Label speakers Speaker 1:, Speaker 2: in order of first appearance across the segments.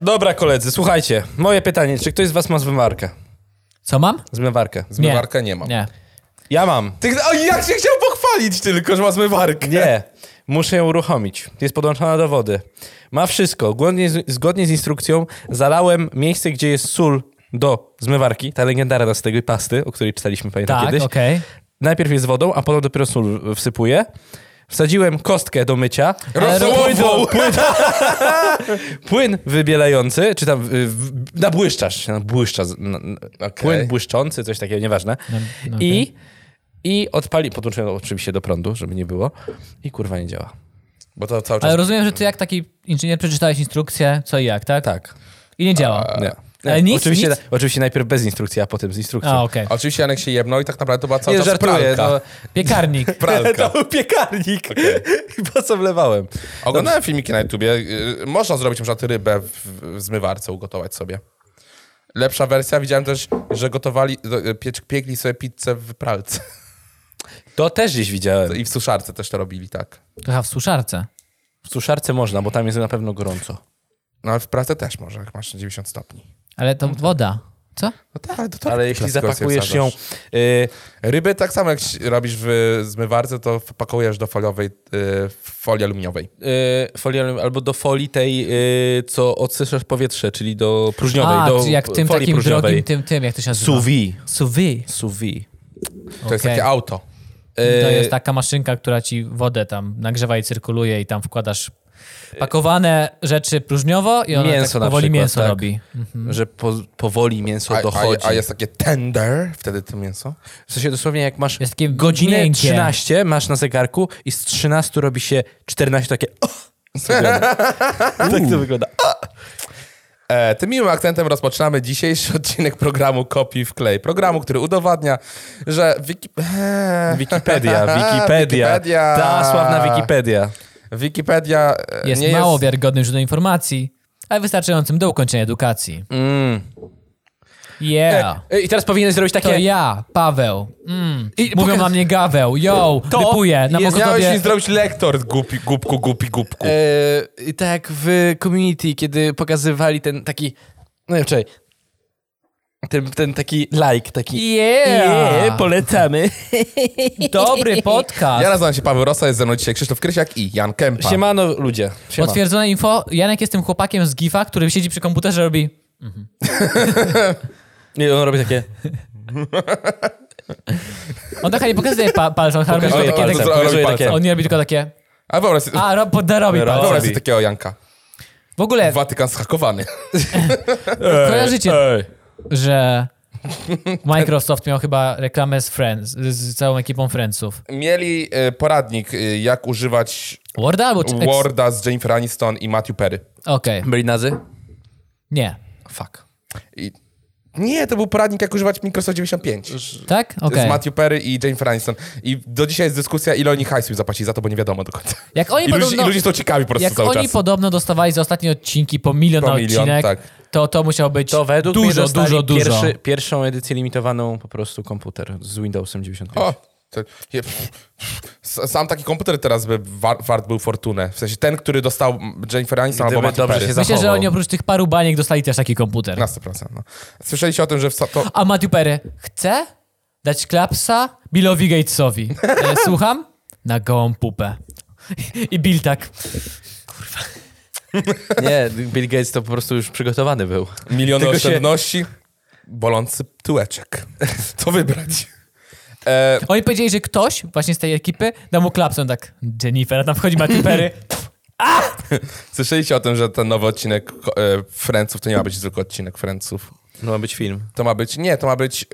Speaker 1: Dobra, koledzy, słuchajcie. Moje pytanie, czy ktoś z was ma zmywarkę?
Speaker 2: Co mam?
Speaker 1: Zmywarkę.
Speaker 3: Zmywarkę nie, mam.
Speaker 2: Nie.
Speaker 1: Ja mam.
Speaker 3: Ty, o, jak się chciał pochwalić tylko, że ma zmywarkę.
Speaker 1: Nie. Muszę ją uruchomić. Jest podłączona do wody. Ma wszystko. Zgodnie z, zgodnie z instrukcją zalałem miejsce, gdzie jest sól do zmywarki. Ta legendarna z tego pasty, o której czytaliśmy pamiętam
Speaker 2: Tak, okej.
Speaker 1: kiedyś. Najpierw jest wodą, a potem dopiero sól w- wsypuję. Wsadziłem kostkę do mycia.
Speaker 3: Rosołową.
Speaker 1: Płyn wybielający, czy tam y, w- nabłyszczasz, się nabłyszcza, z- na- na- płyn błyszczący, coś takiego, nieważne.
Speaker 2: no
Speaker 1: I, I odpali, podłączyłem oczywiście do prądu, żeby nie było i kurwa nie działa.
Speaker 3: Bo to cały czas...
Speaker 2: Ale rozumiem, że ty jak taki inżynier przeczytałeś instrukcję, co i jak, tak?
Speaker 1: Tak.
Speaker 2: I nie działa.
Speaker 1: Nie.
Speaker 2: Ale
Speaker 1: Nie,
Speaker 2: nic,
Speaker 1: oczywiście,
Speaker 2: nic?
Speaker 1: oczywiście najpierw bez instrukcji, a potem z instrukcją.
Speaker 2: A, okej.
Speaker 3: Oczywiście Janek się jebnął i tak naprawdę to była cały
Speaker 1: Nie,
Speaker 3: czas
Speaker 1: żartuję.
Speaker 3: pralka.
Speaker 1: No,
Speaker 2: Piekarnik.
Speaker 3: Pralka.
Speaker 1: to był piekarnik. I po co wlewałem?
Speaker 3: Oglądałem filmiki na YouTubie. y, Można zrobić na przykład rybę w, w zmywarce, ugotować sobie. Lepsza wersja. Widziałem też, że gotowali, y, piec- piekli sobie pizzę w pralce.
Speaker 1: To też gdzieś widziałem.
Speaker 3: I w suszarce też to robili, tak.
Speaker 2: To chyba w suszarce.
Speaker 1: W suszarce można, bo tam jest na pewno gorąco.
Speaker 3: No ale w pralce też może, jak masz 90 stopni.
Speaker 2: Ale to woda. Co?
Speaker 3: No tak, to, to
Speaker 1: Ale jeśli
Speaker 3: klasycznie
Speaker 1: zapakujesz ją...
Speaker 3: wsadzasz.
Speaker 1: y,
Speaker 3: Ryby tak samo jak ś- robisz w zmywarce, to pakujesz do foliowej, y, folii aluminiowej.
Speaker 1: y, folii alum- albo do folii tej, y, co odsyszasz powietrze, czyli do próżniowej,
Speaker 2: A,
Speaker 1: do
Speaker 2: czy jak tym
Speaker 1: folii
Speaker 2: takim
Speaker 1: próżniowej.
Speaker 2: drogim, tym, tym, jak to się nazywa?
Speaker 1: Sous vide.
Speaker 2: Sous vide.
Speaker 1: Sous vide. Y,
Speaker 3: To jest
Speaker 2: Okej.
Speaker 3: takie auto.
Speaker 1: E,
Speaker 2: To No, jest tak, taka maszynka, która ci wodę tam nagrzewa i cyrkuluje i tam wkładasz pakowane rzeczy próżniowo i ona
Speaker 1: Mięso
Speaker 2: tak
Speaker 1: na
Speaker 2: powoli
Speaker 1: przykład,
Speaker 2: mięso
Speaker 1: tak.
Speaker 2: robi.
Speaker 1: Że po, powoli mięso
Speaker 3: A, a,
Speaker 1: dochodzi.
Speaker 3: a jest takie tender, wtedy to mięso.
Speaker 1: W sensie dosłownie jak masz
Speaker 2: Jest takie
Speaker 1: godzinę
Speaker 2: miękkie.
Speaker 1: 13 masz na zegarku i z 13 robi się 14 takie... O! tak to wygląda.
Speaker 3: E, tym miłym akcentem rozpoczynamy dzisiejszy odcinek programu Kopi w klej. Programu, który udowadnia, że wiki... eee,
Speaker 1: Wikipedia, Wikipedia,
Speaker 3: Wikipedia.
Speaker 1: Ta sławna Wikipedia.
Speaker 3: Wikipedia e,
Speaker 2: Jest
Speaker 3: nie
Speaker 2: mało
Speaker 3: jest...
Speaker 2: wiarygodnym źródłem informacji, ale wystarczającym do ukończenia edukacji.
Speaker 3: Mm.
Speaker 2: Yeah.
Speaker 1: E, I teraz powinien zrobić takie...
Speaker 2: To ja, Paweł. Mm.
Speaker 1: I
Speaker 2: Mówią
Speaker 1: poka-
Speaker 2: na mnie Gaweł. Yo,
Speaker 1: To
Speaker 2: typuję na
Speaker 1: jest-
Speaker 3: Miałeś mi
Speaker 2: pogotowie.
Speaker 3: zrobić lektor, gupi, gubku, gupi, gubku.
Speaker 1: E, i tak jak w community, kiedy pokazywali ten taki. No nie, czekaj. Ten, ten taki like, taki.
Speaker 2: Yeah.
Speaker 1: polecamy.
Speaker 2: Dobry podcast.
Speaker 3: Ja nazywam się Paweł Rosa, jest ze mną dzisiaj Krzysztof Krysiak i Jan Kępa.
Speaker 1: Siemano ludzie. Siema.
Speaker 2: Potwierdzone info, Janek jest tym chłopakiem z GIFA, który siedzi przy komputerze i robi
Speaker 1: Nie, on robi takie.
Speaker 2: On tak nie pokazuje pa palcem, on chyba robi
Speaker 3: Pokazuje
Speaker 2: tylko takie... takie-
Speaker 3: palcem. robi
Speaker 1: takie.
Speaker 2: On nie robi tylko takie...
Speaker 3: A wyobraź sobie,
Speaker 2: A, ro po- da, robi
Speaker 1: Robi.
Speaker 2: palcem.
Speaker 3: wyobraź sobie takiego Janka.
Speaker 2: W ogóle
Speaker 3: Watykan zhakowany.
Speaker 2: kojarzycie,
Speaker 1: E,
Speaker 2: że Microsoft miał chyba reklamę z Friends, z- z całą ekipą Friendsów.
Speaker 3: Mieli e, poradnik, e, jak używać
Speaker 2: Worda albo... czy- ex-
Speaker 3: Worda z Jennifer Aniston i Matthew Perry.
Speaker 2: Okej,
Speaker 1: Byli nazy?
Speaker 2: nie.
Speaker 1: Fuck.
Speaker 3: I... Nie, to był poradnik, jak używać Microsoft 95.
Speaker 2: Tak?
Speaker 3: Z
Speaker 2: Okej.
Speaker 3: Matthew Perry i Jennifer Aniston. I do dzisiaj jest dyskusja, ile oni hajsu zapłacili za to, bo nie wiadomo do końca.
Speaker 2: Jak oni
Speaker 3: I, ludzie,
Speaker 2: podobno...
Speaker 3: I ludzie są ciekawi po prostu
Speaker 2: Jak
Speaker 3: cały
Speaker 2: oni
Speaker 3: czas.
Speaker 2: podobno dostawali za ostatnie odcinki po milion
Speaker 3: Po
Speaker 2: na
Speaker 3: milion,
Speaker 2: odcinek,
Speaker 3: tak.
Speaker 2: to to musiał być
Speaker 1: To według mnie
Speaker 2: dużo,
Speaker 1: dostali
Speaker 2: dużo, dużo.
Speaker 1: Pierwszy, pierwszą edycję limitowaną po prostu komputer z Windowsem 95.
Speaker 3: O, to, je, S- sam taki komputer teraz by war, wart był fortunę. W sensie ten, który dostał Jennifer Aniston
Speaker 1: Gdyby
Speaker 3: albo Matthew
Speaker 1: No, dobrze
Speaker 3: Perry.
Speaker 1: się
Speaker 2: Myślę, że
Speaker 1: zachował.
Speaker 2: oni oprócz tych paru baniek dostali też taki komputer.
Speaker 3: Na 100%. No. Słyszeliście o tym, że w, sa- to,
Speaker 2: A Matthew Perry chce dać klapsa Billowi Gatesowi. E, słucham? Na gołą pupę. I Bill tak.
Speaker 1: Nie, Bill Gates to po prostu już przygotowany był.
Speaker 3: Miliony
Speaker 1: Tylko się-
Speaker 3: oszczędności, bolący tyłeczek. Co wybrać? E,
Speaker 2: Oni powiedzieli, że ktoś właśnie z tej ekipy da mu klapsę. On tak, Jennifer, a tam wchodzi Matthew Perry.
Speaker 3: słyszeliście o tym, że ten nowy odcinek e, Friendsów to nie ma być tylko odcinek Friendsów.
Speaker 1: No ma być film.
Speaker 3: To ma być, nie, to ma być,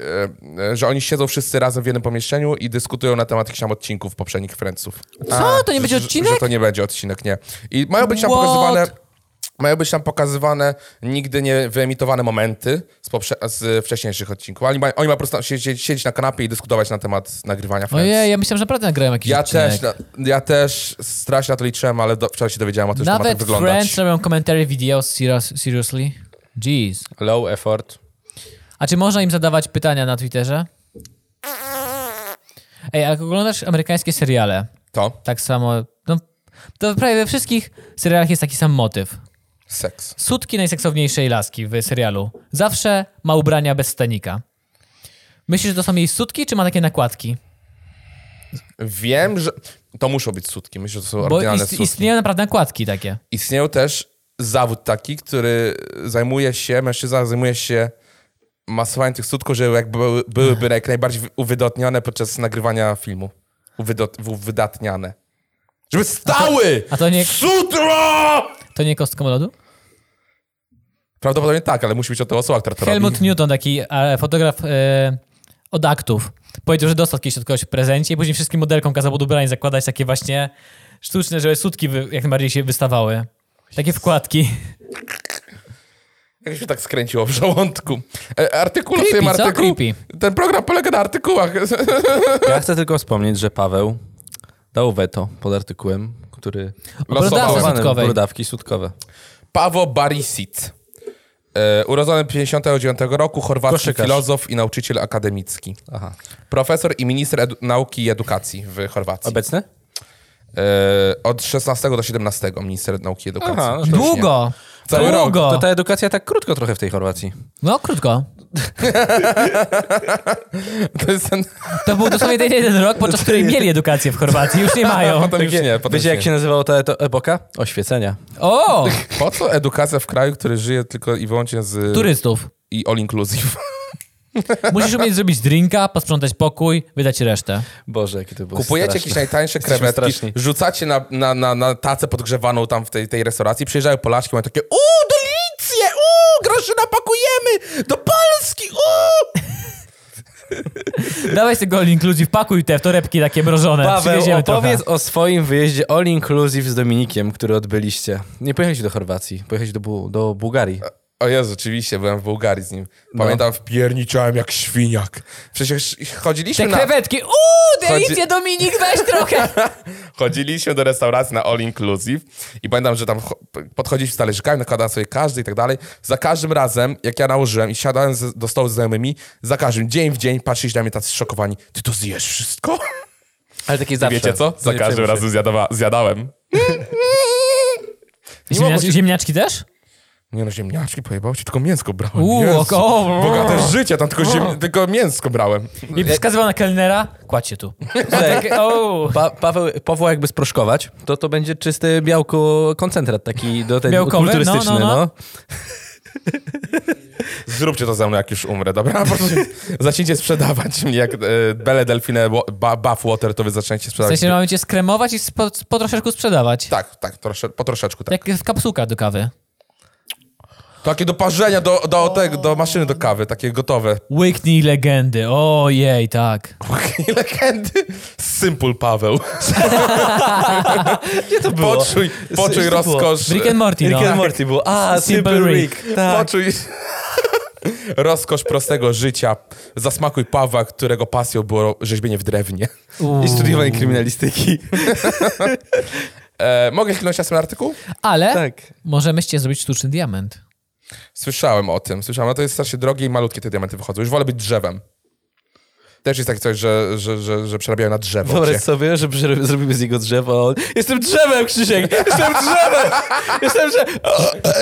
Speaker 3: e, e, że oni siedzą wszyscy razem w jednym pomieszczeniu i dyskutują na temat jakichś tam odcinków poprzednich Friendsów.
Speaker 2: Co? To nie będzie
Speaker 3: Że-
Speaker 2: odcinek?
Speaker 3: Że, że to nie będzie odcinek, nie. I mają być tam
Speaker 2: What?
Speaker 3: pokazywane... Mają być tam pokazywane nigdy nie wyemitowane momenty z, poprze- z wcześniejszych odcinków. Oni, ma, oni ma po prostu siedzieć, siedzieć na kanapie i dyskutować na temat nagrywania Friends.
Speaker 2: Ojej, ja myślałem, że naprawdę nagrałem jakiś
Speaker 3: Ja
Speaker 2: odcinek.
Speaker 3: też, no, na- ja też strasznie na to liczyłem, ale do, wczoraj się dowiedziałem o tym, że to ma tak
Speaker 2: Nawet
Speaker 3: wyglądać.
Speaker 2: Friends robią commentary videos, serious- seriously. Jeez.
Speaker 1: Low effort.
Speaker 2: A czy można im zadawać pytania na Twitterze? Ej, a jak oglądasz amerykańskie seriale,
Speaker 3: To?
Speaker 2: tak samo, no, to prawie we wszystkich serialach jest taki sam motyw.
Speaker 3: Seks.
Speaker 2: sutki najseksowniejszej laski w serialu. Zawsze ma ubrania bez stanika. Myślisz, że to są jej sutki, czy ma takie nakładki?
Speaker 3: Wiem, że... To muszą być sutki. Myślę, że to są
Speaker 2: Bo
Speaker 3: oryginalne
Speaker 2: ist,
Speaker 3: sutki.
Speaker 2: istnieją naprawdę nakładki takie.
Speaker 3: Istnieją też zawód taki, który zajmuje się, mężczyzna zajmuje się masowaniem tych sutków, żeby jakby były, byłyby jak najbardziej wy- uwydatniane podczas nagrywania filmu. Uwydot, w- uwydatniane. Żeby stały!
Speaker 2: a to nie-
Speaker 3: Sutro!
Speaker 2: To nie kostką lodu?
Speaker 3: Prawdopodobnie tak, ale musi być o to osoba, która to
Speaker 2: Helmut
Speaker 3: robi.
Speaker 2: Newton, taki e, fotograf e, od aktów, powiedział, że dostał kiedyś od kogoś w prezencie i później wszystkim modelkom kazał pod ubranie zakładać takie właśnie sztuczne, żeby sutki wy, jak najbardziej się wystawały. Takie wkładki.
Speaker 3: Jak się tak skręciło w żołądku. E, artykuł,
Speaker 2: Creepy,
Speaker 3: tym
Speaker 2: co?
Speaker 3: artykuł.
Speaker 2: Creepy.
Speaker 3: Ten program polega na artykułach.
Speaker 1: Ja chcę tylko wspomnieć, że Paweł dał weto pod artykułem, który...
Speaker 2: Brodawce
Speaker 3: Losowo.
Speaker 2: sutkowej.
Speaker 1: Brodawki sutkowe.
Speaker 3: Pawo Barisic. E, urodzony 59 roku, chorwacki
Speaker 1: Koszykarz.
Speaker 3: filozof i nauczyciel akademicki.
Speaker 1: Aha.
Speaker 3: Profesor i minister edu- nauki i edukacji w Chorwacji.
Speaker 1: Obecny?
Speaker 3: E, od 16 do 17 minister nauki i edukacji.
Speaker 1: Aha, no to
Speaker 2: Długo!
Speaker 3: Cały rok.
Speaker 2: Długo!
Speaker 1: To ta edukacja tak krótko trochę w tej Chorwacji.
Speaker 2: No, krótko.
Speaker 3: To jest ten...
Speaker 2: To był dosłownie ten jeden rok, podczas której mieli edukację w Chorwacji. Już nie mają.
Speaker 3: Potem już nie, potem
Speaker 1: Wiecie,
Speaker 3: już
Speaker 1: jak się nazywała ta eto- epoka? Oświecenia.
Speaker 2: O!
Speaker 3: nie. Po co edukacja w kraju, który żyje tylko i wyłącznie z...
Speaker 2: Turystów.
Speaker 3: I all inclusive.
Speaker 2: Musisz umieć zrobić drinka, posprzątać pokój, wydać resztę.
Speaker 1: Boże, jaki to był
Speaker 3: Kupujecie
Speaker 1: straszny.
Speaker 3: jakieś najtańsze
Speaker 1: Jesteśmy
Speaker 3: krewetki,
Speaker 1: straszni.
Speaker 3: rzucacie na, na, na, na tacę podgrzewaną tam w tej, tej restauracji, przyjeżdżają Polaczki, mają takie uuu, delicje, uuu, groszy napakujemy do Polski, uuu.
Speaker 2: Dawaj z tego all inclusive, pakuj te w torebki takie mrożone.
Speaker 1: Paweł,
Speaker 2: Przywieziemy
Speaker 1: opowiedz
Speaker 2: trochę.
Speaker 1: o swoim wyjeździe all inclusive z Dominikiem, który odbyliście. Nie pojechaliście do Chorwacji, pojechaliście do, Bu- do Bułgarii.
Speaker 3: O Jezu, oczywiście, byłem w Bułgarii z nim.
Speaker 1: No.
Speaker 3: Pamiętam, wpierniczałem jak świniak. Przecież chodziliśmy
Speaker 2: Te
Speaker 3: na...
Speaker 2: krewetki. Uuu, delicje,
Speaker 3: Chodzi-
Speaker 2: Dominik, weź trochę.
Speaker 3: Chodziliśmy do restauracji na All Inclusive i pamiętam, że tam cho- podchodziliśmy z talerzykami, nakładał sobie każdy i tak dalej. Za każdym razem, jak ja nałożyłem i siadałem z, do stołu z znajomymi, za każdym dzień w dzień patrzyli na mnie tacy szokowani. Ty to zjesz wszystko?
Speaker 1: Ale taki zawsze.
Speaker 3: Wiecie co? Za
Speaker 1: Nie
Speaker 3: każdym
Speaker 1: przejmuj się.
Speaker 3: razem zjadawa, zjadałem. Nie mogło
Speaker 2: Ziemniacz,
Speaker 3: się-
Speaker 2: ziemniaczki też?
Speaker 3: Nie no, ziemniaczki pojebało ci, tylko mięsko brałem.
Speaker 2: Uuu,
Speaker 3: Jezu.
Speaker 2: oko.
Speaker 3: Bogate życie, tam tylko, ziem... tylko mięsko brałem.
Speaker 2: I wskazywał na kelnera, kładź się tu. Tak, o.
Speaker 1: Pa, Paweł, Paweł jakby sproszkować, to to będzie czysty białko koncentrat taki do tej
Speaker 2: Białkowy?
Speaker 1: kulturystyczny.
Speaker 2: No,
Speaker 1: No,
Speaker 2: no, no.
Speaker 3: Zróbcie to ze mną, jak już umrę, dobra? Po prostu Zacznijcie sprzedawać mnie jak e, Belle Delfine wo- ba, Buff Water, to wy zaczniecie
Speaker 2: W
Speaker 3: sprzedawać.
Speaker 2: sensie no- mamy cię skremować i spo, po troszeczku sprzedawać.
Speaker 3: Tak, tak, trosze, po troszeczku tak.
Speaker 2: Jak w kapsułkach do kawy.
Speaker 3: Takie do parzenia, do, do, tego, do maszyny do kawy, takie gotowe.
Speaker 2: Łyknij legendy, ojej, tak.
Speaker 3: Takie legendy. Simple Paweł. Gdzie to
Speaker 1: było?
Speaker 3: Poczuj, poczuj
Speaker 1: Gdzie to było?
Speaker 3: rozkosz. e,
Speaker 2: Rick and Morty, no.
Speaker 1: Rick and Morty było. A,
Speaker 2: Simple
Speaker 1: Simple,
Speaker 2: Rick.
Speaker 1: Rick. Tak.
Speaker 3: Poczuj rozkosz prostego życia. Zasmakuj Pawła, którego pasją było rzeźbienie w drewnie.
Speaker 1: I studiowanie kryminalistyki.
Speaker 3: E, mogę chwilę na artykuł?
Speaker 2: Ale
Speaker 1: Tak.
Speaker 2: możemy z ciebie zrobić sztuczny diament.
Speaker 3: Słyszałem o tym, słyszałem, ale to jest strasznie drogie i malutkie te diamenty wychodzą. Już wolę być drzewem. Też jest takie coś, że, że, że, że przerabiają na drzewo.
Speaker 1: Wyobraź
Speaker 3: Cię.
Speaker 1: sobie, że przy- zrobimy z niego drzewo. a on- Jestem drzewem, Krzysiek! Jestem drzewem! Jestem drzewem!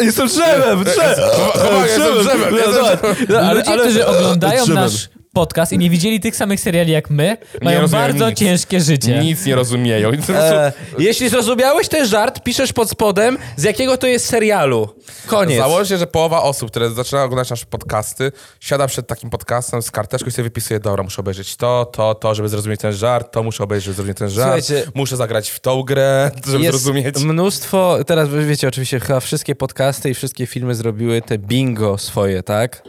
Speaker 1: Jestem drzewem! Drzew!
Speaker 3: Chowaj, jestem drzewem, jestem
Speaker 1: No, Ale-
Speaker 2: Ludzie,
Speaker 1: ale-
Speaker 2: którzy oglądają
Speaker 1: drzewem.
Speaker 2: nasz podcast i nie widzieli tych samych seriali jak my, mają
Speaker 3: rozumiem
Speaker 2: bardzo
Speaker 3: nic.
Speaker 2: ciężkie życie.
Speaker 3: Nic nie rozumieją. I to-
Speaker 1: E, jeśli zrozumiałeś ten żart, piszesz pod spodem, z jakiego to jest serialu. Koniec.
Speaker 3: Założę się, że połowa osób, które zaczyna oglądać nasze podcasty, siada przed takim podcastem z karteczką i sobie wypisuje, dobra, muszę obejrzeć to, to, to, żeby zrozumieć ten żart, to muszę obejrzeć, żeby zrozumieć ten żart,
Speaker 1: Słuchajcie,
Speaker 3: muszę zagrać w tą grę, żeby
Speaker 1: Jest
Speaker 3: zrozumieć.
Speaker 1: mnóstwo, teraz wy wiecie oczywiście, chyba wszystkie podcasty i wszystkie filmy zrobiły te bingo swoje, tak?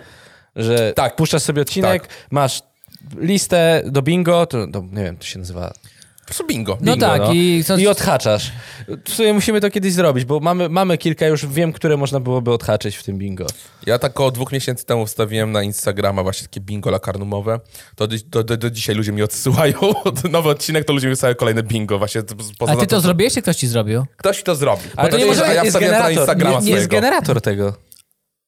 Speaker 1: Że
Speaker 3: Tak.
Speaker 1: tak. puszczasz sobie odcinek, masz listę do bingo, to, to nie wiem, to się nazywa
Speaker 3: Po prostu bingo.
Speaker 2: No
Speaker 1: Bingo,
Speaker 2: tak,
Speaker 1: no.
Speaker 2: i, co,
Speaker 1: I odhaczasz. W sumie musimy to kiedyś zrobić, bo mamy, mamy kilka, już wiem, które można byłoby odhaczyć w tym bingo.
Speaker 3: Ja tak około dwóch miesięcy temu wstawiłem na Instagrama właśnie takie bingo lakarnumowe. To do, do, do, do dzisiaj ludzie mi odsyłają nowy odcinek, to ludzie mi wysyłają kolejne bingo właśnie. Poza
Speaker 2: a ty
Speaker 3: na
Speaker 2: to zrobiłeś, czy ktoś ci zrobił?
Speaker 3: Ktoś to zrobi.
Speaker 1: Ale
Speaker 3: Bo
Speaker 1: to nie
Speaker 3: jest-
Speaker 1: może
Speaker 3: a ja
Speaker 1: jest
Speaker 3: wstawiłem to na
Speaker 1: generator.
Speaker 3: Instagrama
Speaker 1: Nie, nie jest
Speaker 3: swojego.
Speaker 1: generator tego.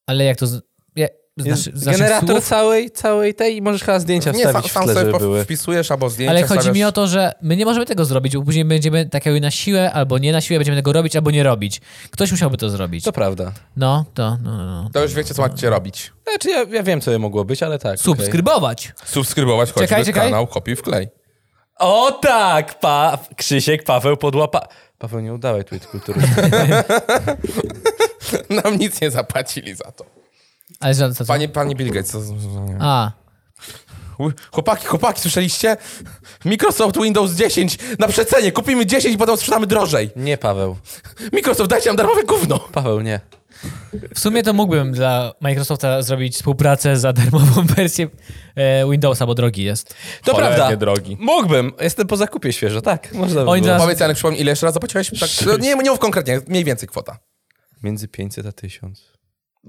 Speaker 2: Ale jak to... z- Ja, Znaczy,
Speaker 1: Jest
Speaker 2: znaczy
Speaker 1: generator
Speaker 2: słów,
Speaker 1: całej, całej tej i możesz chyba zdjęcia
Speaker 3: Nie, sam,
Speaker 1: wstawić w
Speaker 3: sam
Speaker 1: tle,
Speaker 3: sobie
Speaker 1: żeby
Speaker 3: po-
Speaker 1: były.
Speaker 3: wpisujesz albo zdjęcia
Speaker 2: ale chodzi mi
Speaker 3: stawiasz.
Speaker 2: o to, że my nie możemy tego zrobić, bo później będziemy takiego na siłę albo nie na siłę, będziemy tego robić albo nie robić. Ktoś musiałby to zrobić.
Speaker 1: To prawda.
Speaker 2: No, to, no, no, no.
Speaker 3: To już wiecie, co macie robić.
Speaker 1: Znaczy ja, ja wiem, co by mogło być, ale tak. okej.
Speaker 2: Subskrybować.
Speaker 3: Subskrybować choćby
Speaker 2: Czekaj, czekaj.
Speaker 3: kanał Kopiuj Wklej.
Speaker 1: O tak! Pa... Krzysiek, Paweł podłapa... Paweł, nie udawaj tu kultury.
Speaker 3: Nam nic nie zapłacili za to.
Speaker 2: Ale za co? co?
Speaker 3: Panie, panie Bill Gates. co- co- co-
Speaker 2: A,
Speaker 3: Chłopaki, chłopaki, słyszeliście? Microsoft Windows 10 na przecenie. Kupimy 10, potem sprzedamy drożej.
Speaker 1: Nie, Paweł.
Speaker 3: Microsoft, dajcie nam darmowe gówno.
Speaker 1: Paweł, nie.
Speaker 2: w sumie to mógłbym dla Microsofta zrobić współpracę za darmową wersję e, Windowsa, bo drogi jest.
Speaker 1: To
Speaker 3: Cholernie
Speaker 1: prawda.
Speaker 3: drogi.
Speaker 1: Mógłbym. Jestem po zakupie świeżo, tak. Można by
Speaker 2: Oni
Speaker 1: było.
Speaker 2: teraz-
Speaker 3: Powiedz, Janek, przypomnij, ile jeszcze raz zapłaciłeś? Tak, no, nie, nie mów konkretnie, mniej więcej kwota.
Speaker 1: Między 500 a 1000.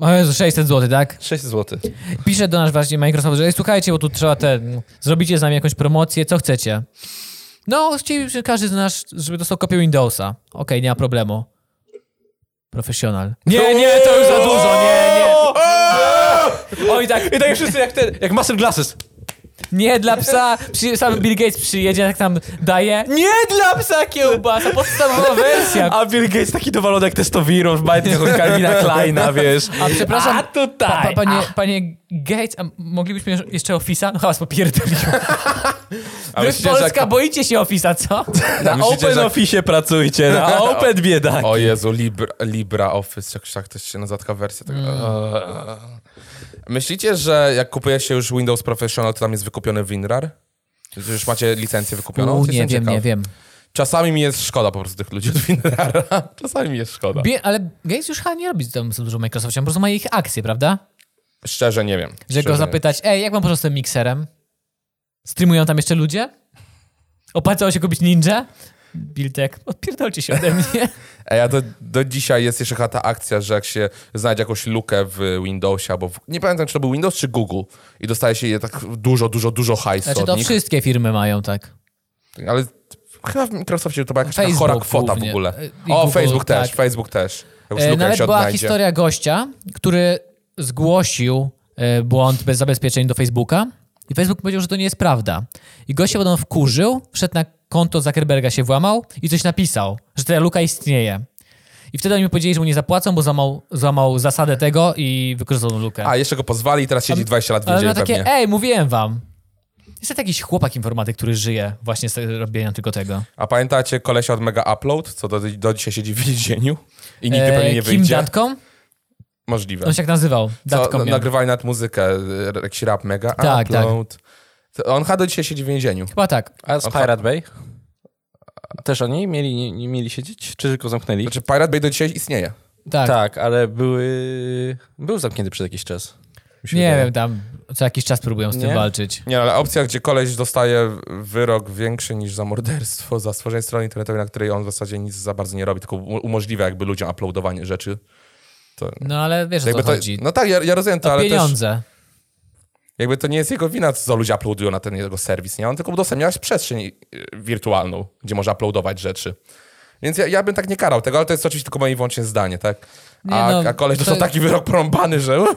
Speaker 2: O Jezu, 600 zł, tak?
Speaker 1: 6 zł.
Speaker 2: Pisze do nas właśnie Microsoft, że "Ej, słuchajcie, bo tu trzeba te... Zrobicie z nami jakąś promocję, co chcecie? No, chcielibyśmy każdy z nas, żeby dostał kopię Windowsa. Okej, nie ma problemu. Profesjonal. Nie, nie, to już za dużo, nie, nie. Oj, tak,
Speaker 1: I tak wszyscy jak ten, jak Master Glasses.
Speaker 2: nie dla psa, przy, sam Bill Gates przyjedzie, jak tam daje. Nie dla psa kiełbasa, podstawowa wersja.
Speaker 1: A Bill Gates taki dowalony jak testowiron w majtkach od Calvina Kleina, wiesz.
Speaker 2: A przepraszam,
Speaker 1: A
Speaker 2: Pa,
Speaker 1: tutaj.
Speaker 2: pa, panie, panie Gates, a moglibyśmy jeż- jeszcze Office'a? No hałas popierdolił. Wy
Speaker 3: myślicie, że
Speaker 2: Polska
Speaker 3: jak-
Speaker 2: boicie się Office'a, co?
Speaker 1: na
Speaker 3: myślicie,
Speaker 1: Open
Speaker 3: że-
Speaker 1: Office pracujcie, na Open biedak.
Speaker 3: O Jezu, Libra, Libra Office, jak tak też się nazywa taka wersja. Tak,
Speaker 2: Mm.
Speaker 3: Eee. Myślicie, że jak kupuje się już Windows Professional, to tam jest wykupiony WinRAR? Że Już macie licencję wykupioną?
Speaker 2: U,
Speaker 3: Jestem
Speaker 2: nie wiem,
Speaker 3: ciekaw.
Speaker 2: nie wiem.
Speaker 3: Czasami mi jest szkoda po prostu tych ludzi od WinRARa. Czasami mi jest szkoda.
Speaker 2: Bie, ale Gates już chyba nie robi tam za dużo Microsoftu, on po prostu ma ich akcje, prawda?
Speaker 3: Szczerze nie wiem.
Speaker 2: Że
Speaker 3: Szczerze
Speaker 2: go
Speaker 3: nie.
Speaker 2: zapytać, ej, jak mam po prostu z tym mikserem? Streamują tam jeszcze ludzie? Opłacało się kupić ninja? Biltek, odpierdolcie się ode mnie. Znaczy,
Speaker 3: Ej, a do, do dzisiaj jest jeszcze chyba ta akcja, że jak się znajdzie jakąś lukę w Windowsie albo w, nie pamiętam, czy to był Windows czy Google i dostaje się je tak dużo, dużo, dużo hajsu
Speaker 2: Znaczy
Speaker 3: od
Speaker 2: to
Speaker 3: nich.
Speaker 2: wszystkie firmy mają, tak.
Speaker 3: Ale chyba w Microsoftie to była jakaś taka
Speaker 2: Facebook
Speaker 3: chora kwota
Speaker 2: głównie.
Speaker 3: w ogóle.
Speaker 2: E, i
Speaker 3: O,
Speaker 2: Google,
Speaker 3: Facebook też,
Speaker 2: tak.
Speaker 3: Facebook też. Jakąś
Speaker 2: E,
Speaker 3: lukę
Speaker 2: Nawet
Speaker 3: się
Speaker 2: była
Speaker 3: odnajdzie.
Speaker 2: historia gościa, który zgłosił e, błąd bez zabezpieczeń do Facebooka i Facebook powiedział, że to nie jest prawda. I gość się potem wkurzył, wszedł na konto Zuckerberga, się włamał i coś napisał, że ta luka istnieje. I wtedy oni mu powiedzieli, że mu nie zapłacą, bo złamał, złamał zasadę tego i wykorzystał tą lukę.
Speaker 3: A, jeszcze go pozwali i teraz siedzi 20 lat w
Speaker 2: Ale
Speaker 3: więzieniu
Speaker 2: na takie,
Speaker 3: pewnie.
Speaker 2: ej, mówiłem wam. Jest jakiś chłopak informatyk, który żyje właśnie z robienia tylko tego.
Speaker 3: A pamiętacie kolesia od Mega Upload, co do, do dzisiaj siedzi w więzieniu i nigdy pewnie nie
Speaker 2: E, Kim
Speaker 3: wyjdzie?
Speaker 2: Datką?
Speaker 3: Możliwe.
Speaker 2: On się tak nazywał. Datką
Speaker 3: Co, no,
Speaker 2: miał.
Speaker 3: nagrywali nad muzykę, e, jakiś rap Mega
Speaker 2: Tak, tak.
Speaker 3: Upload. To On chyba do dzisiaj siedzi w więzieniu.
Speaker 2: Chyba tak.
Speaker 1: A z Pirate Bay? Też oni mieli, nie, nie mieli siedzieć? Czy tylko zamknęli?
Speaker 3: Znaczy Pirate Bay do dzisiaj istnieje.
Speaker 2: Tak.
Speaker 1: Tak, ale były... Był zamknięty przez jakiś czas. Mi się
Speaker 2: Nie
Speaker 1: wydaje.
Speaker 2: wiem, tam co jakiś czas próbują z tym
Speaker 1: Nie?
Speaker 2: walczyć.
Speaker 3: Nie, ale opcja, gdzie koleś dostaje wyrok większy niż za morderstwo, za stworzenie strony internetowej, na której on w zasadzie nic za bardzo nie robi, tylko u- umożliwia jakby ludziom uploadowanie rzeczy.
Speaker 2: No ale wiesz o co
Speaker 3: Jakby to,
Speaker 2: chodzi.
Speaker 3: no tak, ja, ja rozumiem to, ale też
Speaker 2: Pieniądze.
Speaker 3: jakby to nie jest jego wina, co ludzie uploadują na ten jego serwis, nie? On tylko udostępniałeś przestrzeń y, wirtualną, gdzie można uploadować rzeczy. Więc ja, ja bym tak nie karał tego, ale to jest oczywiście tylko moje i wyłącznie zdanie, tak?
Speaker 2: Nie,
Speaker 3: A,
Speaker 2: no,
Speaker 3: a koleś
Speaker 2: to-
Speaker 3: dostał taki wyrok porąbany, że... uh,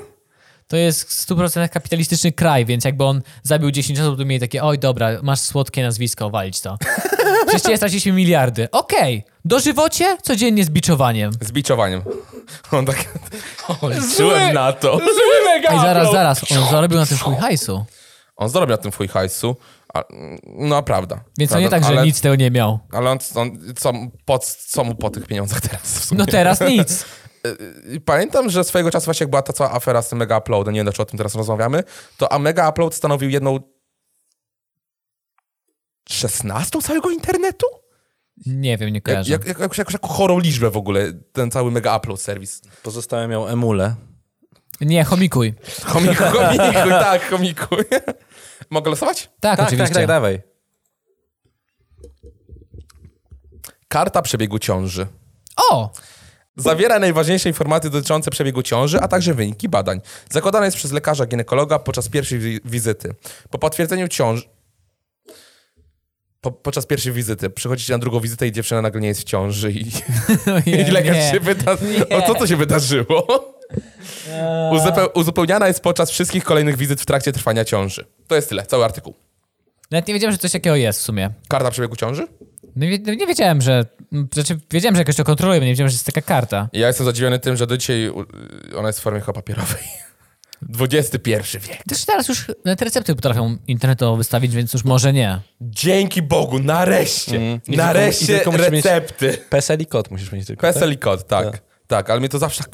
Speaker 2: To jest w 100% kapitalistyczny kraj, więc jakby on zabił 10 osób, to by mieli takie, oj dobra, masz słodkie nazwisko, walić to. Przecież cię straciliśmy miliardy. Okej, dożywocie codziennie z biczowaniem.
Speaker 3: Z biczowaniem. On tak...
Speaker 1: Czułem na to. Zły mega
Speaker 2: Ej, zaraz,
Speaker 1: upload.
Speaker 2: zaraz, on zarobił na tym swój hajsu.
Speaker 3: On zrobił na tym fuj hajsu, a, no prawda.
Speaker 2: Więc to
Speaker 3: prawda,
Speaker 2: nie tak, że
Speaker 3: ale,
Speaker 2: nic tego nie miał.
Speaker 3: Ale on, on co, mu po, co mu po tych pieniądzach teraz w sumie?
Speaker 2: No teraz nic.
Speaker 3: I Pamiętam, że swojego czasu właśnie jak była ta cała afera z tym Mega Uploadem, nie wiem, czy o tym teraz rozmawiamy, to a Mega Upload stanowił jedną... 16 całego internetu?
Speaker 2: Nie wiem, nie
Speaker 3: Jak,
Speaker 2: kojarzę.
Speaker 3: jak, jak, jakąś, jakąś taką chorą liczbę w ogóle, ten cały Mega Upload serwis.
Speaker 1: Pozostałem miał emule.
Speaker 2: Nie, chomikuj. Tak,
Speaker 3: Komiku, komikuj, tak, komikuj. Mogę losować?
Speaker 2: Tak,
Speaker 1: Tak, tak,
Speaker 2: oczywiście.
Speaker 1: tak, dawaj.
Speaker 3: Karta przebiegu ciąży.
Speaker 2: O!
Speaker 3: Zawiera najważniejsze informacje dotyczące przebiegu ciąży, a także wyniki badań. Zakładana jest przez lekarza ginekologa podczas pierwszej wi- wizyty. Po potwierdzeniu ciąży. Po, podczas pierwszej wizyty. Przychodzicie na drugą wizytę i dziewczyna nagle nie jest w ciąży i,
Speaker 2: No,
Speaker 3: i
Speaker 2: nie,
Speaker 3: lekarz
Speaker 2: nie.
Speaker 3: się pyta, o co to się wydarzyło? Uzupeł, uzupełniana jest podczas wszystkich kolejnych wizyt w trakcie trwania ciąży. To jest tyle, cały artykuł.
Speaker 2: Nawet nie wiedziałem, że coś takiego jest w sumie.
Speaker 3: Karta przebiegu ciąży?
Speaker 2: No, nie, nie wiedziałem, że... Znaczy, wiedziałem, że jakoś to kontroluje, bo nie wiedziałem, że jest taka karta.
Speaker 3: Ja jestem zadziwiony tym, że do dzisiaj u- ona jest w formie chyba papierowej. XXI wiek.
Speaker 2: Też teraz już nawet recepty potrafią internetowo wystawić, więc już może nie.
Speaker 3: Dzięki Bogu, nareszcie!
Speaker 1: I
Speaker 3: Nareszcie
Speaker 1: tylko- i tylko musisz
Speaker 3: recepty!
Speaker 1: PESEL i kod musisz mieć tylko.
Speaker 3: PESEL i kod, tak. tak. ale mnie to zawsze tak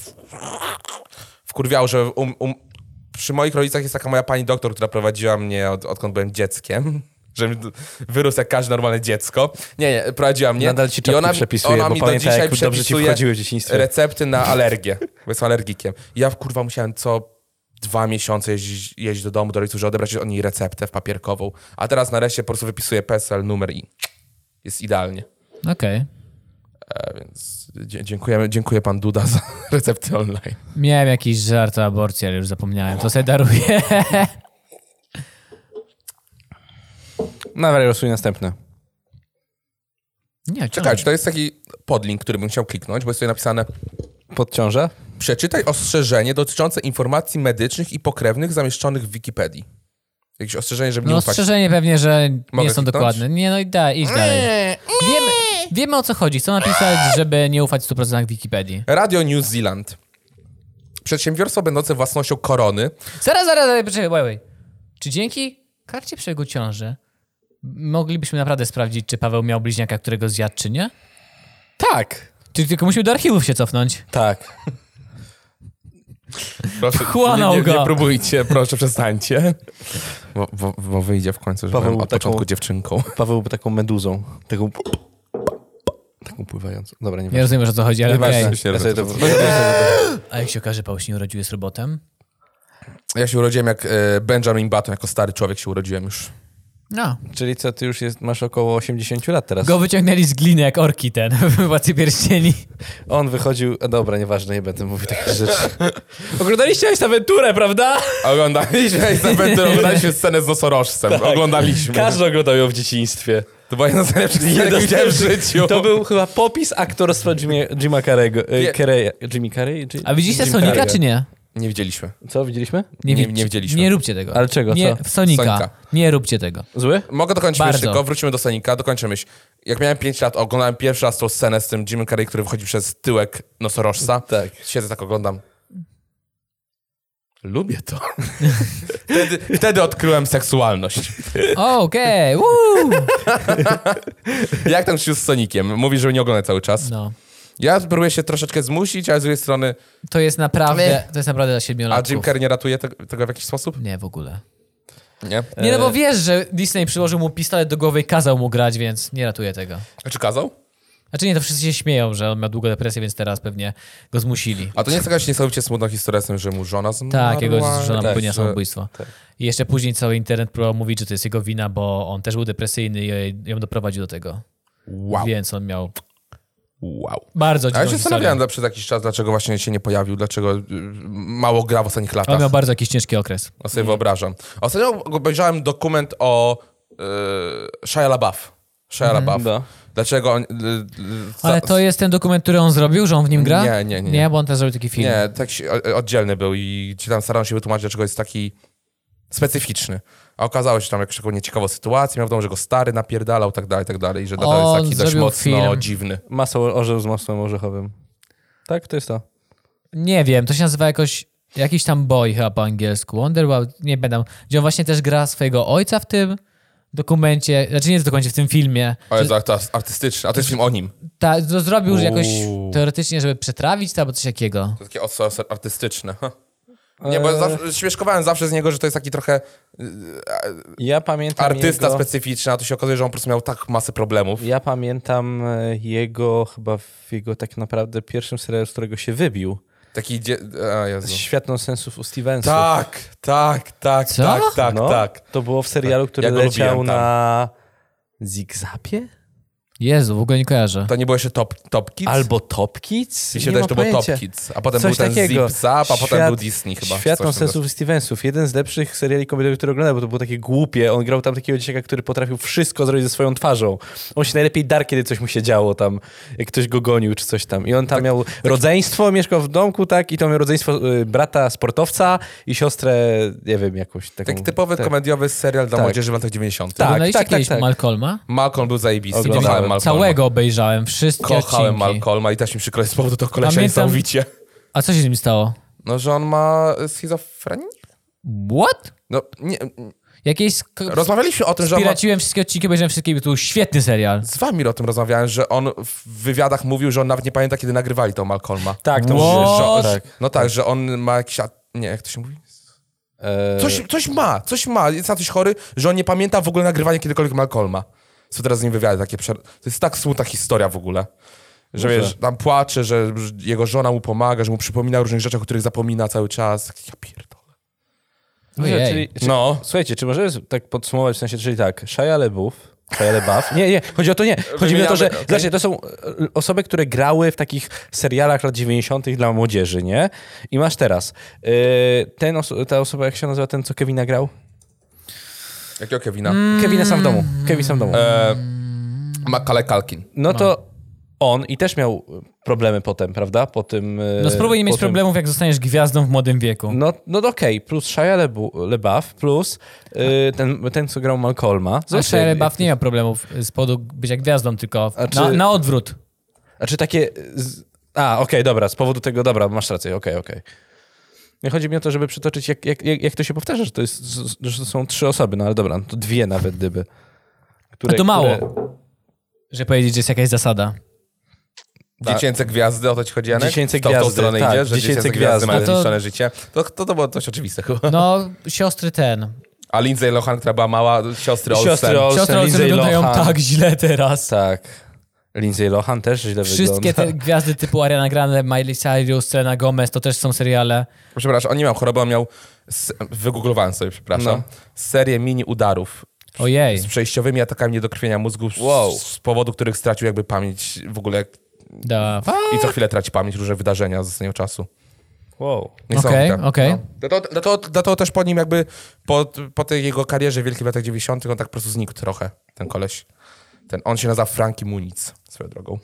Speaker 3: wkurwiało, że um, um, przy moich rodzicach jest taka moja pani doktor, która prowadziła mnie od, odkąd byłem dzieckiem. Że mi d- wyrósł jak każde normalne dziecko. Nie, nie, prowadziła mnie.
Speaker 1: Nadal ci
Speaker 3: I
Speaker 1: czapki przepisuje, bo pamiętaj, jak dobrze ci wchodziły w dzieciństwie.
Speaker 3: recepty na alergię, bo jestem alergikiem. Ja kurwa musiałem co dwa miesiące jeździć, jeździć do domu do rodziców, żeby odebrać od niej receptę w papierkową. A teraz nareszcie po prostu wypisuję PESEL, numer i jest idealnie.
Speaker 2: Okej.
Speaker 3: E, Więc dzie- dziękujemy, dziękuję pan Duda za recepty online.
Speaker 2: Miałem jakiś żart o aborcji, ale już zapomniałem. To sobie daruję.
Speaker 1: Nawet losuj następne.
Speaker 2: Nie,
Speaker 3: Czekaj, czy to jest taki podlink, który bym chciał kliknąć, bo jest tutaj napisane
Speaker 1: Podciąża?
Speaker 3: przeczytaj ostrzeżenie dotyczące informacji medycznych i pokrewnych zamieszczonych w Wikipedii. Jakieś ostrzeżenie, żeby
Speaker 2: No
Speaker 3: nie ufać.
Speaker 2: ostrzeżenie pewnie, że
Speaker 3: Mogę
Speaker 2: nie są
Speaker 3: kliknąć?
Speaker 2: dokładne. Nie, no i da, idź dalej. Wiemy, wiemy o co chodzi. Chcą napisać, żeby nie ufać 100% Wikipedii.
Speaker 3: Radio New Zealand. Przedsiębiorstwo będące własnością korony.
Speaker 2: Zaraz, zaraz, zaraz, poczekaj, wait, wait. Czy dzięki karcie przebiegu ciąży moglibyśmy naprawdę sprawdzić, czy Paweł miał bliźniaka, którego zjadł, czy nie?
Speaker 1: Tak.
Speaker 2: Czy tylko musimy do archiwów się cofnąć?
Speaker 1: Tak.
Speaker 3: Proszę,
Speaker 2: Wchłonął
Speaker 3: nie, nie, nie
Speaker 2: go.
Speaker 3: próbujcie, proszę przestańcie. Bo, bo, bo wyjdzie w końcu, że
Speaker 1: Paweł
Speaker 3: byłem od
Speaker 1: taką-
Speaker 3: początku dziewczynką.
Speaker 1: Paweł był taką meduzą. Taką... Taką pływającą. Dobra, nie
Speaker 2: Nie
Speaker 1: wiem.
Speaker 2: rozumiem, już o co chodzi, ale okej.
Speaker 3: Nieważne. Się
Speaker 1: Ja sobie to...
Speaker 2: A jak się okaże, Paweł się nie urodził jest robotem?
Speaker 3: Ja się urodziłem jak e, Benjamin Button, jako stary człowiek się urodziłem już.
Speaker 2: No.
Speaker 1: Czyli co, ty już jest, masz około 80 lat teraz.
Speaker 2: Go wyciągnęli z gliny jak orki ten w Władcy Pierścieni.
Speaker 1: On wychodził... A dobra, nieważne, nie będę mówił takich rzeczy. Oglądaliście Ace Aventurę, prawda?
Speaker 3: Oglądaliśmy Izabelę, oglądaliśmy scenę z nosorożcem. Tak.
Speaker 1: Tak.
Speaker 3: Oglądaliśmy.
Speaker 1: Każdy oglądał ją w dzieciństwie.
Speaker 3: To była jedna z najlepszych scen, jakie widziałem w życiu.
Speaker 1: To był chyba popis aktorstwa Jimmy, Jima Carrey'ego.
Speaker 3: Nie.
Speaker 1: E, Carrey'a. Jimmy Carrey? Czy-
Speaker 2: A widzieliście
Speaker 1: Jim
Speaker 2: Sonika
Speaker 1: Carrey.
Speaker 2: czy nie?
Speaker 3: Nie widzieliśmy.
Speaker 1: Co, widzieliśmy?
Speaker 3: Nie-
Speaker 2: widz-
Speaker 3: nie widzieliśmy.
Speaker 2: Nie róbcie tego.
Speaker 1: Ale czego,
Speaker 2: Nie,
Speaker 1: co?
Speaker 2: w Sonika.
Speaker 3: Sonika.
Speaker 2: Nie róbcie tego.
Speaker 1: Zły?
Speaker 3: Mogę dokończyć
Speaker 2: Bardzo.
Speaker 3: myśl tylko? Wrócimy do Sonika, dokończę myśl. Jak miałem 5 lat, oglądałem pierwszy raz tą scenę z tym Jimmy Carrey, który wychodzi przez tyłek nosorożca.
Speaker 1: Tak.
Speaker 3: Siedzę tak, oglądam. Lubię to. wtedy, wtedy odkryłem seksualność.
Speaker 2: Okej, uuu.
Speaker 3: Jak tam się z Sonikiem? Mówi, że nie ogląda cały czas.
Speaker 2: No.
Speaker 3: Ja próbuję się troszeczkę zmusić, ale z drugiej strony...
Speaker 2: To jest naprawdę, to jest naprawdę dla
Speaker 3: A
Speaker 2: siedmiolatków.
Speaker 3: Jim Carrey nie ratuje tego, tego w jakiś sposób?
Speaker 2: Nie, w ogóle.
Speaker 3: Nie.
Speaker 2: Nie, no bo wiesz, że Disney przyłożył mu pistolet do głowy i kazał mu grać, więc nie ratuje tego.
Speaker 3: A czy kazał?
Speaker 2: Znaczy nie, to wszyscy się śmieją, że on miał długą depresję, więc teraz pewnie go zmusili.
Speaker 3: A to nie jest jakaś niesamowicie smutna historia z tym, że mu żona zmarła?
Speaker 2: Tak, jego żona
Speaker 3: Tak,
Speaker 2: popełniła
Speaker 3: że-
Speaker 2: samobójstwo. I jeszcze później cały internet próbował mówić, że to jest jego wina, bo on też był depresyjny i jej- ją doprowadził do tego.
Speaker 3: Wow,
Speaker 2: Więc on miał
Speaker 3: wow.
Speaker 2: bardzo
Speaker 3: A
Speaker 2: dziwną
Speaker 3: ja się
Speaker 2: historię.
Speaker 3: zastanawiałem dla- przez jakiś czas, dlaczego właśnie się nie pojawił, dlaczego y, mało gra w ostatnich
Speaker 2: On
Speaker 3: latach.
Speaker 2: miał bardzo jakiś ciężki okres.
Speaker 3: O sobie wyobrażam. Ostatnio obejrzałem dokument o y, Shia LaBeouf. Shia LaBeouf.
Speaker 1: Da.
Speaker 3: Dlaczego on... y, y,
Speaker 2: Mhm. Ale
Speaker 3: za-
Speaker 2: to jest ten dokument, który on zrobił, że on w nim gra?
Speaker 3: Nie, nie, nie.
Speaker 2: Nie, bo on też zrobił taki film.
Speaker 3: Nie, tak się, o- oddzielny był i ci tam starano się wytłumaczyć, dlaczego jest taki specyficzny. A okazało się tam jakąś taką nieciekawą sytuację, miał w domu, że go stary napierdalał, tak dalej, tak dalej, i że nadal
Speaker 2: On
Speaker 3: jest taki dość
Speaker 2: zrobił
Speaker 3: mocno
Speaker 2: film.
Speaker 3: dziwny.
Speaker 1: Masło orzeł z masłem orzechowym. Tak, to jest to.
Speaker 2: Nie wiem, to się nazywa jakoś... Jakiś tam boy chyba po angielsku. Wonder Wow, nie będę. Gdzie on właśnie też gra swojego ojca w tym dokumencie. Znaczy nie w dokumencie, w tym filmie.
Speaker 3: Ale to, to jest artystyczny, a to jest film o nim.
Speaker 2: Ta, to zrobił jakoś
Speaker 3: Uuu.
Speaker 2: teoretycznie, żeby przetrawić to albo coś takiego.
Speaker 3: To takie oso oso- artystyczne. ha. Nie, bo
Speaker 1: Eee.
Speaker 3: zawsze, śmieszkowałem zawsze z niego, że to jest taki trochę
Speaker 1: Ja pamiętam
Speaker 3: artysta
Speaker 1: jego...
Speaker 3: specyficzny, a to się okazuje, że on po prostu miał tak masę problemów.
Speaker 1: Ja pamiętam e, jego, chyba w jego tak naprawdę pierwszym serialu, z którego się wybił.
Speaker 3: Taki dzie... A, Jezu.
Speaker 1: Z Światną sensów u Stevensa.
Speaker 3: Tak, tak, tak,
Speaker 2: Co?
Speaker 3: tak, tak,
Speaker 1: no,
Speaker 3: tak.
Speaker 1: To było w serialu, który
Speaker 3: Ja go lubiłem
Speaker 1: leciał
Speaker 3: tam.
Speaker 1: na Zigzapie?
Speaker 2: Jezu, w ogóle nie kojarzę.
Speaker 3: To nie było jeszcze Top, top Kids?
Speaker 1: Albo Top Kids?
Speaker 3: Mi
Speaker 1: Nie
Speaker 3: się wydaje,
Speaker 1: mam
Speaker 3: że to było Top
Speaker 1: pojęcia.
Speaker 3: Kids. A potem
Speaker 1: Coś
Speaker 3: był ten
Speaker 1: takiego.
Speaker 3: Zip Zap, a potem
Speaker 1: Świat-
Speaker 3: był Disney chyba.
Speaker 1: Świat
Speaker 3: Coś w tym
Speaker 1: nonsensów Stevensów. Jeden z lepszych seriali komediowych, które oglądałem, bo to było takie głupie. On grał tam takiego dzieciaka, który potrafił wszystko zrobić ze swoją twarzą. On się najlepiej dar, kiedy coś mu się działo tam, jak ktoś go gonił czy coś tam. I on
Speaker 3: Tak,
Speaker 1: tam miał rodzeństwo, mieszkał w domku, tak? I to miał rodzeństwo y, brata sportowca i siostrę, nie wiem, jakąś taką...
Speaker 3: Taki typowy
Speaker 1: tak.
Speaker 3: komediowy serial dla
Speaker 1: Tak.
Speaker 3: młodzieży w latach 90.
Speaker 1: Tak,
Speaker 2: Oglądaliście
Speaker 1: tak, tak,
Speaker 2: kiedyś
Speaker 1: tak.
Speaker 2: Malcolma?
Speaker 3: Malcolm był zajebisty.
Speaker 1: Oglądałem.
Speaker 3: Kochałem Malcolma.
Speaker 2: Całego obejrzałem, wszystkie
Speaker 3: Kochałem
Speaker 2: odcinki.
Speaker 3: Malcolma i też mi przykro jest z powodu tego kolesia
Speaker 2: Pamiętam-
Speaker 3: niesamowicie.
Speaker 2: A co się z nim stało?
Speaker 3: No, że on ma schizofrenię?
Speaker 2: What?
Speaker 3: No, nie,
Speaker 2: Jakieś... sk-
Speaker 3: rozmawialiśmy o tym, że on ma...
Speaker 2: Spiraciłem wszystkie odcinki, obejrzałem wszystkie i to był świetny serial.
Speaker 3: Z wami o tym rozmawiałem, że on w wywiadach mówił, że on nawet nie pamięta, kiedy nagrywali tą Malcolma.
Speaker 1: Tak, to
Speaker 2: What?
Speaker 1: że- że- tak.
Speaker 3: No tak, że on ma jakiś... a- Nie, jak to się mówi?
Speaker 1: E,
Speaker 3: Coś, coś ma, coś ma, jest na coś chory, że on nie pamięta w ogóle nagrywania kiedykolwiek Malcolma. Co teraz z nim wywiady takie przer... To jest tak smutna historia w ogóle. Że
Speaker 1: Może.
Speaker 3: wiesz, tam płacze, że że jego żona mu pomaga, że mu przypomina o różnych rzeczach, o których zapomina cały czas. Tak, Ja pierdolę.
Speaker 2: Ojej.
Speaker 1: Czyli, czy,
Speaker 3: No.
Speaker 1: Słuchajcie, czy możesz tak podsumować, w sensie, czyli tak, Shia LaBeouf, Shia LaBeouf, nie, nie, chodzi o to nie, chodzi mi o to, że,
Speaker 3: Wymieniamy, okej.
Speaker 1: znaczy, to są e, osoby, które grały w takich serialach lat 90 dla młodzieży, nie? I masz teraz, e, ten oso- ta osoba, jak się nazywa, ten, co Kevina grał?
Speaker 3: Jakiego Kevina?
Speaker 1: Kevina sam w domu, Kevin sam w domu.
Speaker 3: E, Macaulay Culkin.
Speaker 1: No to on i też miał problemy potem, prawda? Po tym... e,
Speaker 2: No spróbuj nie
Speaker 1: po
Speaker 2: mieć
Speaker 1: tym-
Speaker 2: problemów, jak zostaniesz gwiazdą w młodym wieku.
Speaker 1: No, no to okej, plus Shia Lebu- LeBuff, plus e, ten, ten, co grał Malcolma.
Speaker 2: A
Speaker 1: Zobaczcie,
Speaker 2: Shia LaBeouf nie ma problemów z powodu bycia gwiazdą, tylko
Speaker 1: A
Speaker 2: na,
Speaker 1: czy-
Speaker 2: na odwrót.
Speaker 1: Znaczy takie. Z... A, okej, dobra, z powodu tego, dobra, masz rację, okej, okej. Nie chodzi mi o to, żeby przytoczyć, jak, jak, jak, jak to się powtarza, że to, jest, że to są trzy osoby, no ale dobra, no to dwie nawet gdyby. Które,
Speaker 2: A to mało.
Speaker 1: Które...
Speaker 2: Że powiedzieć, że jest jakaś zasada.
Speaker 3: Dziecięce gwiazdy, o to ci chodzi, Janek?
Speaker 1: Tak. Dziecięce
Speaker 3: W tą- W
Speaker 1: gwiazdy,
Speaker 3: tą stronę
Speaker 1: tak,
Speaker 3: idzie, że
Speaker 1: dziecięce
Speaker 3: dziecięce,
Speaker 1: gwiazdy.
Speaker 3: gwiazdy
Speaker 2: A to-
Speaker 3: mają zniszczone życie. To, to, to było dość oczywiste chyba.
Speaker 2: No, siostry ten.
Speaker 3: A Lindsay Lohan, która była mała, siostry Olsen.
Speaker 1: Siostry Olsen,
Speaker 2: Siostry Olsen
Speaker 1: Lindsay
Speaker 2: wyglądają
Speaker 1: Lohan.
Speaker 2: tak źle teraz.
Speaker 1: Tak. Lindsay Lohan też źle
Speaker 2: Wszystkie
Speaker 1: wygląda.
Speaker 2: te gwiazdy typu Ariana Grande, Miley Cyrus, Selena Gomez, to też są seriale.
Speaker 3: Przepraszam, on nie miał choroby, on miał. s- Wygooglowałem sobie, przepraszam.
Speaker 1: No.
Speaker 3: Serię mini udarów
Speaker 2: Ojej.
Speaker 3: z przejściowymi atakami niedokrwienia mózgu, z-
Speaker 1: Wow.
Speaker 3: z powodu których stracił jakby pamięć w ogóle
Speaker 2: Da.
Speaker 3: i co chwilę traci pamięć różne wydarzenia z ostatniego czasu.
Speaker 1: Wow.
Speaker 2: Okej,
Speaker 3: Niesamowite.
Speaker 2: okej.
Speaker 3: Dlatego, dlatego, dlatego też po nim jakby, po, po tej jego karierze wielkiej w latach 90 on tak po prostu znikł trochę, ten koleś. Ten, on się nazywa Frankie Muniz, swoją drogą.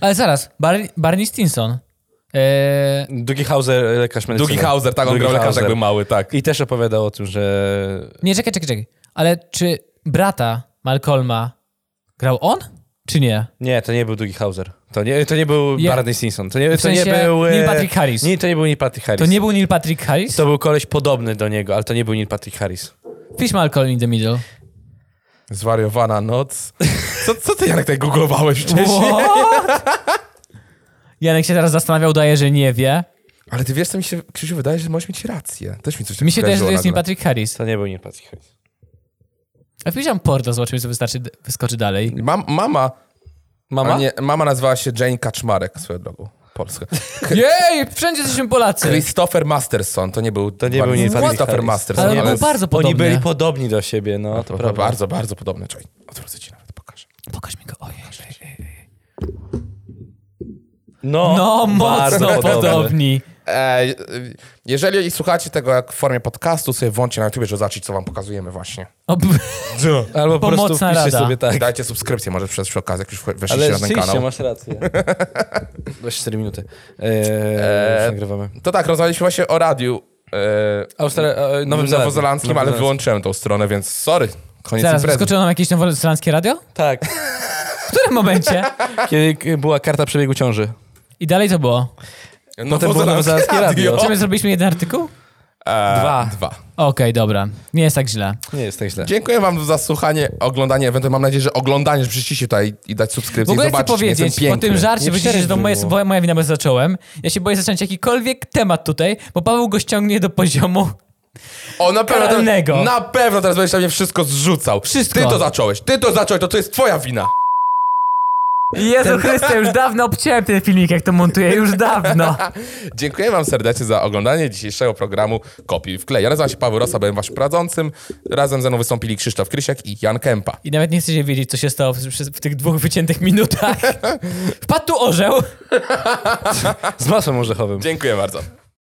Speaker 2: Ale zaraz, Bar- Barney Stinson. E,
Speaker 1: Doogie Hauser, lekarz medycyny.
Speaker 3: Doogie Hauser, tak, on
Speaker 1: Doogie
Speaker 3: grał lekarza
Speaker 1: Hauser.
Speaker 3: jakby mały, tak.
Speaker 1: I też opowiadał o tym, że...
Speaker 2: nie, czekaj, czekaj, czekaj. Ale czy brata Malcolma grał on, czy nie?
Speaker 1: Nie, to nie był Doogie Hauser. To nie, to nie był
Speaker 2: Je-
Speaker 1: Barney Stinson. To nie, to nie
Speaker 2: sensie
Speaker 1: był... e,
Speaker 2: Neil Patrick Harris.
Speaker 1: Nie, to nie był Neil Patrick Harris.
Speaker 2: To nie był Neil Patrick Harris?
Speaker 1: To był koleś podobny do niego, ale to nie był Neil Patrick Harris.
Speaker 2: Fish Malcolm in the Middle.
Speaker 3: Zwariowana noc. Co, co ty, Janek, tak googlowałeś wcześniej?
Speaker 2: Janek się teraz zastanawiał, daje, że nie wie.
Speaker 3: Ale ty wiesz, co mi się, Krzysiu, wydaje, że możesz mieć rację. Też mi coś
Speaker 2: Mi się też, że
Speaker 3: kojarzyło
Speaker 2: to jest
Speaker 3: nagle.
Speaker 2: Neil Patrick Harris.
Speaker 1: To nie był Neil Patrick Harris.
Speaker 2: A wpisałem porno, zobaczymy, co wystarczy, wyskoczy dalej.
Speaker 3: Mam, mama,
Speaker 1: Mama?
Speaker 3: A nie, mama nazywała się Jane Kaczmarek, swoją drogą. Polska.
Speaker 2: Jej, wszędzie jesteśmy Polacy.
Speaker 3: Christopher Masterson, to nie był... To
Speaker 1: nie był nic
Speaker 3: Christopher
Speaker 1: Harris.
Speaker 3: Masterson.
Speaker 2: Ale był
Speaker 3: z-
Speaker 2: bardzo podobny.
Speaker 1: Oni byli podobni do siebie, no.
Speaker 3: To
Speaker 1: To
Speaker 3: było
Speaker 1: prawda.
Speaker 3: bardzo, bardzo podobne. Czekaj, odwrócę ci nawet, pokażę.
Speaker 2: Pokaż mi go. Ojej. ojej, ojej.
Speaker 1: No,
Speaker 2: No,
Speaker 1: bardzo
Speaker 2: mocno
Speaker 1: podobny.
Speaker 2: podobni.
Speaker 3: E, e, jeżeli słuchacie tego jak w formie podcastu, sobie włączcie na YouTube, żeby zobaczyć, co wam pokazujemy właśnie.
Speaker 2: Ob...
Speaker 1: Albo po prostu
Speaker 2: Pomocna
Speaker 1: wpiszcie
Speaker 2: rada.
Speaker 1: sobie tak.
Speaker 3: Dajcie subskrypcję może przez przy okazji, jak już weszliście
Speaker 1: Ale
Speaker 3: na ten kanał.
Speaker 1: rzeczywiście, masz rację. 24 minuty. Eee, już nagrywamy.
Speaker 3: To tak, rozmawialiśmy właśnie o radiu e,
Speaker 1: Austra- e, Nowym
Speaker 3: nowozelandzkim, ale
Speaker 1: Nowozelandzkim.
Speaker 3: wyłączyłem tą stronę, więc sorry. Koniec
Speaker 2: Zaraz,
Speaker 3: imprezy.
Speaker 2: wyskoczyło nam jakieś nowozelandzkie radio?
Speaker 1: Tak.
Speaker 2: W którym momencie?
Speaker 1: Kiedy k- była karta przebiegu ciąży.
Speaker 2: I dalej to było.
Speaker 1: nowozelandzkie radio.
Speaker 2: Czy my zrobiliśmy jeden artykuł?
Speaker 3: E,
Speaker 1: Dwa.
Speaker 3: Dwa.
Speaker 2: Okej, dobra. Nie jest tak źle.
Speaker 1: Nie jest tak źle.
Speaker 3: Dziękuję wam za słuchanie, oglądanie, ewentualnie mam nadzieję, że oglądanie, że przyszliście tutaj i dać
Speaker 2: W
Speaker 3: subskrypcję i
Speaker 2: ogóle chcę
Speaker 3: zobaczyć,
Speaker 2: powiedzieć o
Speaker 3: jestem
Speaker 2: tym
Speaker 3: piękny.
Speaker 2: żarcie,
Speaker 1: Nie
Speaker 2: bo dzisiaj, że to
Speaker 1: przerwij
Speaker 2: moje,
Speaker 1: mu.
Speaker 2: moja wina, bo zacząłem. Ja się boję zacząć jakikolwiek temat tutaj, bo Paweł go ściągnie do poziomu
Speaker 3: O, na pewno,
Speaker 2: karalnego.
Speaker 3: teraz, na pewno teraz będziesz na mnie wszystko zrzucał.
Speaker 2: Wszystko.
Speaker 3: Ty to zacząłeś, ty to zacząłeś, to, to jest twoja wina.
Speaker 4: Jezu Chryste, już dawno obciąłem ten filmik, jak to montuję, już dawno.
Speaker 3: Dziękuję wam serdecznie za oglądanie dzisiejszego programu Kopii w klej. Ja nazywam się Paweł Rosa, byłem waszym prowadzącym. Razem ze mną wystąpili Krzysztof Krysiak i Jan Kępa.
Speaker 2: I nawet nie chcecie wiedzieć, co się stało w, przez- w tych dwóch wyciętych minutach. Wpadł tu orzeł.
Speaker 1: Z masłem orzechowym.
Speaker 3: Dziękuję bardzo.